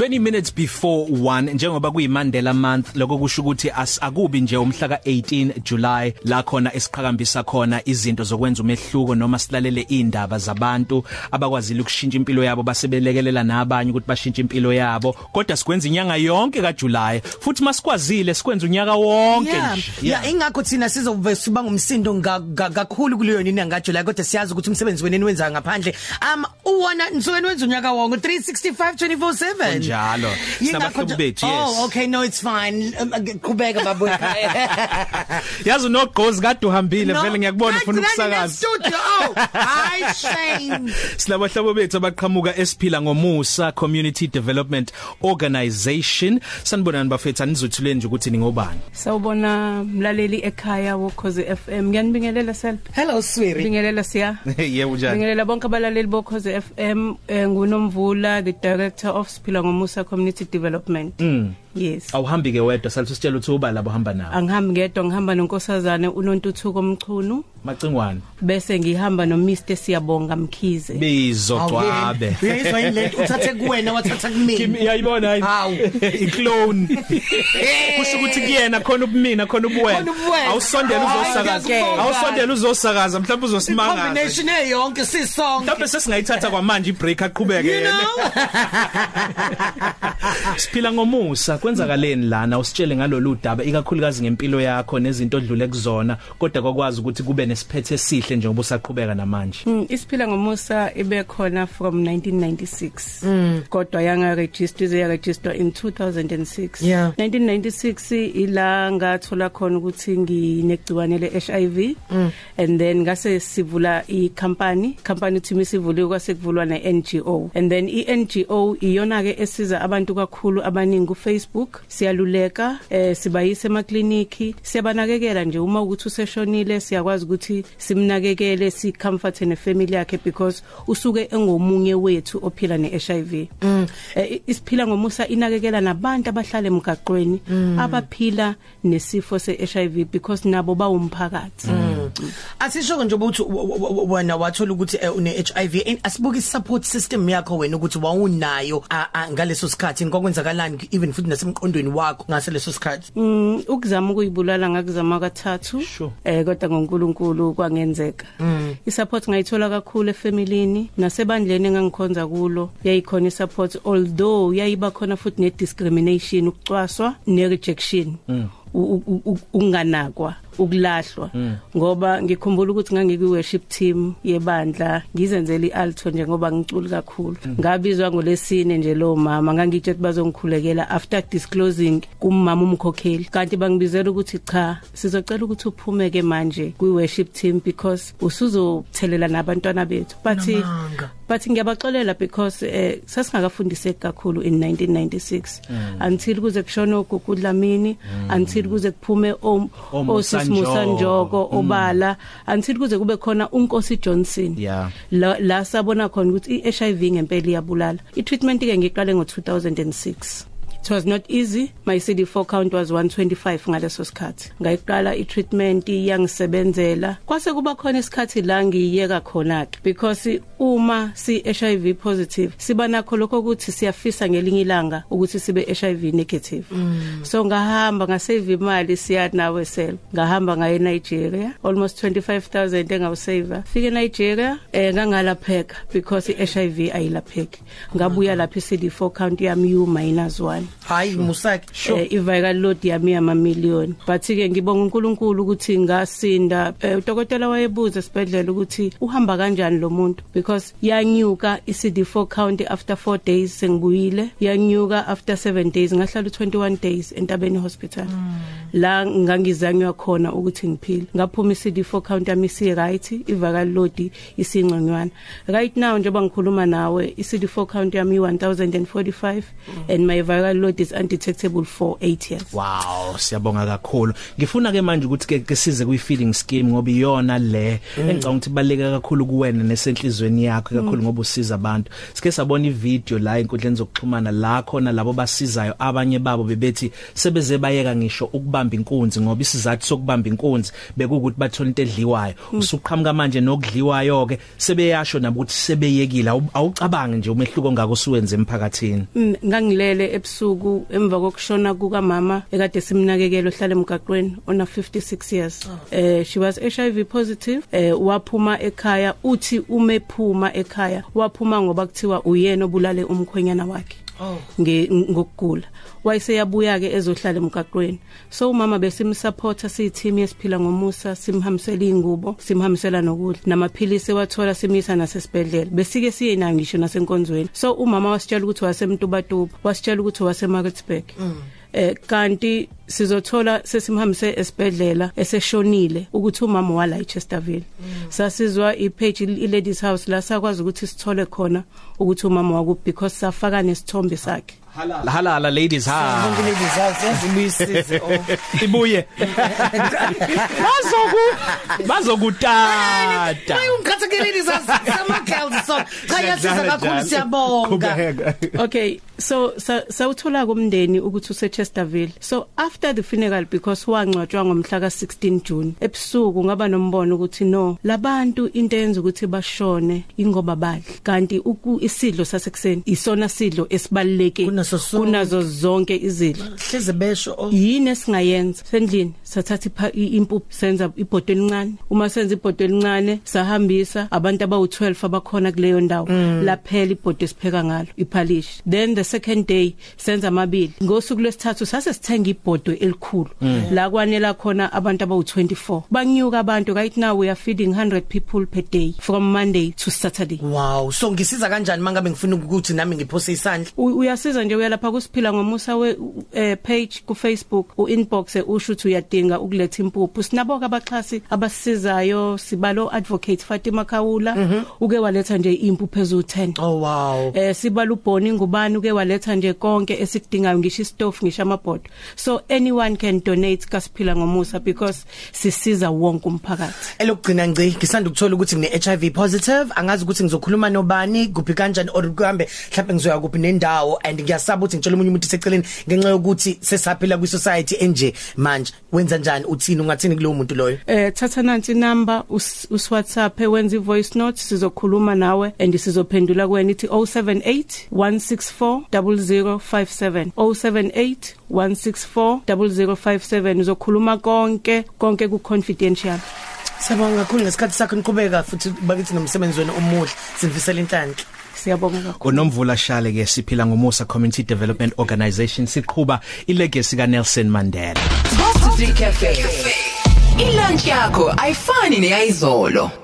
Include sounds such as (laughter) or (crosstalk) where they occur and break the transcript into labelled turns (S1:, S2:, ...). S1: 20 minutes before 1 njengoba kuyimandela month lokho kusho ukuthi as- akubi nje umhla ka18 July la khona esiqhakambisa khona izinto zokwenza umehluko noma silalele indaba zabantu abakwazile ukushintsha impilo yabo basebelekelela nabanye ukuthi bashintshe impilo yabo kodwa sikwenza inyanga yonke kaJuly futhi masikwazile sikwenza unyaka wonke
S2: Yeah.
S1: nje.
S2: Yeah, ingakho thina sizove siba ngumsindo nga- nga- kakhulu kuleyo nini angajula kodwa siyazi ukuthi umsebenzi weneni wenza ngaphandle. Um uwona nsukweni wenza unyaka wonke 365 24/7.
S1: Kunjalo.
S2: Yingakho
S1: Sinabahlobo
S2: nje-
S1: bethu, yes.
S2: Oh, okay, no it's fine. Um, Qhubeka babu
S1: (laughs)
S2: ekhaya.
S1: (laughs) yazi unogqozi kade uhambile vele ngiyakubona ufuna ukusakaza
S2: Studio. Oh, hi Shane.
S1: Silabahlobo bethu abaqhamuka esiphila ngomusa Community Development Organisation sanibonani bafethu anizothuleni nje ukuthi ningobani
S3: Sawubona mlaleli ekhaya wokhoze FM. Ngiyanibingelela self.
S2: Hello sweetie.
S3: Bingelela siya.
S1: (laughs) yebo njani
S3: Bingelela bonke abalaleli bokhoze FM eh, nguNomvula the director of Siphila ngomusa community development. Mm. Yes.
S1: awuhambi ke wedwa salithu sitshela ukuthi uba labo hamba nawo
S3: Angihambi ngedwa ngihamba nonkosazane uNontuthuko Mchunu
S1: macingwane
S3: bese ngihamba noMr Siyabonga Mkhize.
S1: bezocwabe
S2: Uyayizwa yini lento uthathe kuwena wathatha
S1: Kimi
S2: kimi.
S1: yayibona hayi
S2: Hawu.
S1: (laughs) iclone kusho ukuthi kuyena khona ubumina khona ubuwena
S2: Khona ubuwena.
S1: awusondela
S2: Hayi,
S1: uzosakaza
S2: ngiyakubonga.
S1: awusondela uzosakaza mhlawumbe uzosimanga
S2: Combination eyonke sisonke.
S1: mhlawumbe sesingayithatha kwamanje ibreak aqhubeke
S2: You
S1: yena
S2: know?
S1: siphila ngomusa kwenzakaleni lana usitshele ngalolu daba ikakhulukazi ngempilo yakho nezinto odlule kuzona kodwa kwakwazi ukuthi kube nesiphethe esihle njengoba usaqhubeka namanje
S3: Mm, isiphila ngomusa ibe khona from 1996 mm. kodwa yanga register ize register in 2006
S2: Yeah.
S3: 1996 ila ngathola khona ukuthi nginegciwane leHIV mm. and then ngase sivula icompany company uthi misivule kwase kuvulwa neNGO and then iNGO iyona ke esiza abantu kakhulu abaningi kuFacebook siyaluleka eh, sibayise emakliniki siyabanakekela nje uma ukuthi useshonile siyakwazi ukuthi simnakekele sicomforte nefamily yakhe because usuke engomunye wethu ophila neHIV mm. eh, isiphila ngomusa inakekela nabantu abahlala emgaqweni mm. abaphila nesifo seHIV because nabo bawumphakathi mm.
S2: Asisho nje ukuthi w- w- w- wena wathola ukuthi eh, une HIV and asibuke i-support system yakho wena ukuthi wawunayo a- a- ngaleso sikhathi ngokwenzakalani even futhi nasemqondweni wakho ngase leso sikhathi.
S3: Mm, ukuzama ukuyibulala ngakuzama kathathu
S1: Sure.
S3: eh kodwa ngonkulunkulu kwangenzeka mm. isupport ngayithola kakhulu efamilini nasebandleni engangikhonza kulo yayikhona isupport although yayiba khona futhi ne discrimination ukucwaswa ne rejection mm. unganakwa ukulahlwa mm. ngoba ngikhumbula ukuthi ngangikwi worship team yebandla ngizenzela ialto nje ngoba ngiculi kakhulu mm. ngabizwa ngolesine nje lo mama ngangitshe ukuthi bazongikhulekela after disclosing kumama umkhokheli kanti bangibizela ukuthi cha sizocela ukuthi uphume ke manje kwi worship team because usuzothelela nabantwana bethu bathi
S2: Namanga.
S3: but ngiyabaxolela because eh sasingakafundiseki kakhulu in 1996 until kuze kushone uGugu Dlamini until kuze kuphume om-
S1: Musa
S3: osisimusa
S1: Njoko.
S3: njoko obala until kuze kube khona uNkosi Johnson
S1: Yeah.
S3: la la sabona khona ukuthi iHIV ngempela iyabulala itreatment ke ngiqale ngo2006 It was not easy. My CD4 count was 125 ngaleso sikhathi. Ngayiqala i-treatment yangisebenzela. Kwase kuba khona isikhathi la ngiyeka khona ke because uma si HIV positive siba nakho lokho ukuthi siyafisa ngelinye ilanga ukuthi sibe HIV negative. Mm. So ngahamba ngasave imali siya nawe sel. Ngahamba ngaye Nigeria almost 25000 engawusave. Fike Nigeria eh ngangalapheka because iHIV ayilapheki. Ngabuya lapha iCD4 count yami u minus 1.
S2: Hayi Musaki.
S3: Sure. Eh, i-viral load yami yamamiliyoni but ke ngibonga uNkulunkulu ukuthi ngasinda eh, udokotela wayebuza esibedlela ukuthi uhamba kanjani lo muntu because yanyuka iCD4 count after 4 days sengibuyile yanyuka after 7 days ngahlala u21 days entabeni hospital mm. la ngangizanywa khona ukuthi ngiphile ngaphuma iCD4 count yami si right i-viral load isingconywana right now njengoba ngikhuluma nawe iCD4 count yami 1045 and my viral load is undetectable for 8 years
S1: Wow, siyabonga kakhulu. Ngifuna ke manje ukuthi ke- ke size kuyiFeeling scheme ngoba iyona le engicanga ukuthi baleka kakhulu kuwena nesenhlizweni yakho kakhulu ngoba usiza abantu. Sike sabona ivideo la inkundleni zokuxhumana la khona labo basizayo abanye babo bebethi sebeze bayeka ngisho ukuba ukubamba inkunzi ngoba isizathu sokubamba inkunzi bekukuthi bathola into edliwayo usuqhamuka manje nokudliwayo ke sebeyasho nabo ukuthi sebeyekile Awu- awucabangi nje umehluko ongako suwenze emphakathini
S3: Mm, ngangilele ebusuku emva kokushona kukamama ekade simnakekela ohlala emgaqweni ona 56 years eh she was HIV positive eh waphuma ekhaya uthi umephuma ekhaya waphuma ngoba kuthiwa uyena obulale umkhwenyana wakhe
S2: Oh.
S3: nge- ngokugula wayeseyabuya ke ezohlala emgaqweni so umama besimsupporta siyi-team yesiphila ngomusa simhambisela iy'ngubo simhambisela nokudla namaphilisi ewathola simisa nasesibhedlela besike siye nayo ngisho nasenkonzweni so umama wasitshela ukuthi wasemtubatuba wasitshela ukuthi wase-marketsburg Eh kanti sizothola sesimhambise esibhedlela eseshonile ukuthi umama wala eChesterville sasizwa ipage iLadies House la sakwazi ukuthi sithole khona ukuthi umama waku because safaka nesithombe sakhe
S1: halala halala ladies
S3: Ah.
S1: ha
S2: Bonke lezi zazi
S3: (laughs)
S2: yazibuyisize oh.
S1: ibuye bazoku bazokutata
S2: Mayungikhathekeleni
S3: (laughs)
S2: sama girls so. Cha yasiza kakhulu siyabonga. (laughs)
S3: okay so sa- sawuthola kumndeni ukuthi useChesterville so after the funeral because wangcwatshwa ngomhla ka16 June ebusuku ngaba nombono ukuthi no labantu into eyenza ukuthi bashone ingoba badli kanti uku- isidlo sasekuseni isona sidlo esibaluleke
S2: Kunaso sonke.
S3: kunazo zonke izidlo
S2: Hleze besho oh.
S3: yini esingayenza sendlini sathatha ipha- i- impuphu senza ibhodo elincane uma senza ibhodo elincane sahambisa abantu abawu12 abakhona kuleyo ndawo laphela ibhodo esipheka ngalo iphalish then the second day senza amabili ngosuku lwesithathu sase sithenga ibhodo elikhulu la kwanela khona abantu abawu24 banyuka abantu right now we are feeding 100 people per day from monday to saturday
S2: Wow, so ngisiza kanjani mangabe ngifuna ukuthi nami ngiphose isandla?
S3: U- uyasiza nje uyalapha kusiphila ngomusa we u- eh, page ku Facebook u inbox eh, usho ukuthi uyadinga ukuletha impuphu sinabo abaxhasi abasizayo sibalo advocate Fatima Khawula uke waletha nje impuphu ezu10
S2: Oh wow.
S3: eh sibala ubhoni ngubani uke waletha nje konke esikudingayo ngisho istofu ngisho amabhodi so anyone can donate kasiphila ngomusa because sisiza wonke umphakathi
S2: elokugcina ngci ngisanda ukuthola ukuthi ngine HIV positive angazi ukuthi ngizokhuluma nobani kuphi kanjani or kuhambe mhlawumbe ngizoya kuphi nendawo and ngiyasaba ukuthi ngitshele umunye umuntu seceleni ngenxa yokuthi sesaphila kwi society enje manje wenza njani uthini ungathini kulowo muntu loyo
S3: eh thatha nansi number us us WhatsApp wenza ivoice note sizokhuluma nawe and sizophendula kuwena ithi 0781640057 0781640057 uzokhuluma konke konke ku confidential
S2: Siyabonga kakhulu ngesikhathi sakho niqhubeka futhi bakithi nomsebenzi wenu omuhle simfisela inhlanhla
S3: siyabonga kakhulu
S1: konomvula shale ke siphila ngomusa community development organisation siqhubha ilegacy ka Nelson Mandela
S4: Coffee Cafe. Ilunch yakho ayifani neyizolo.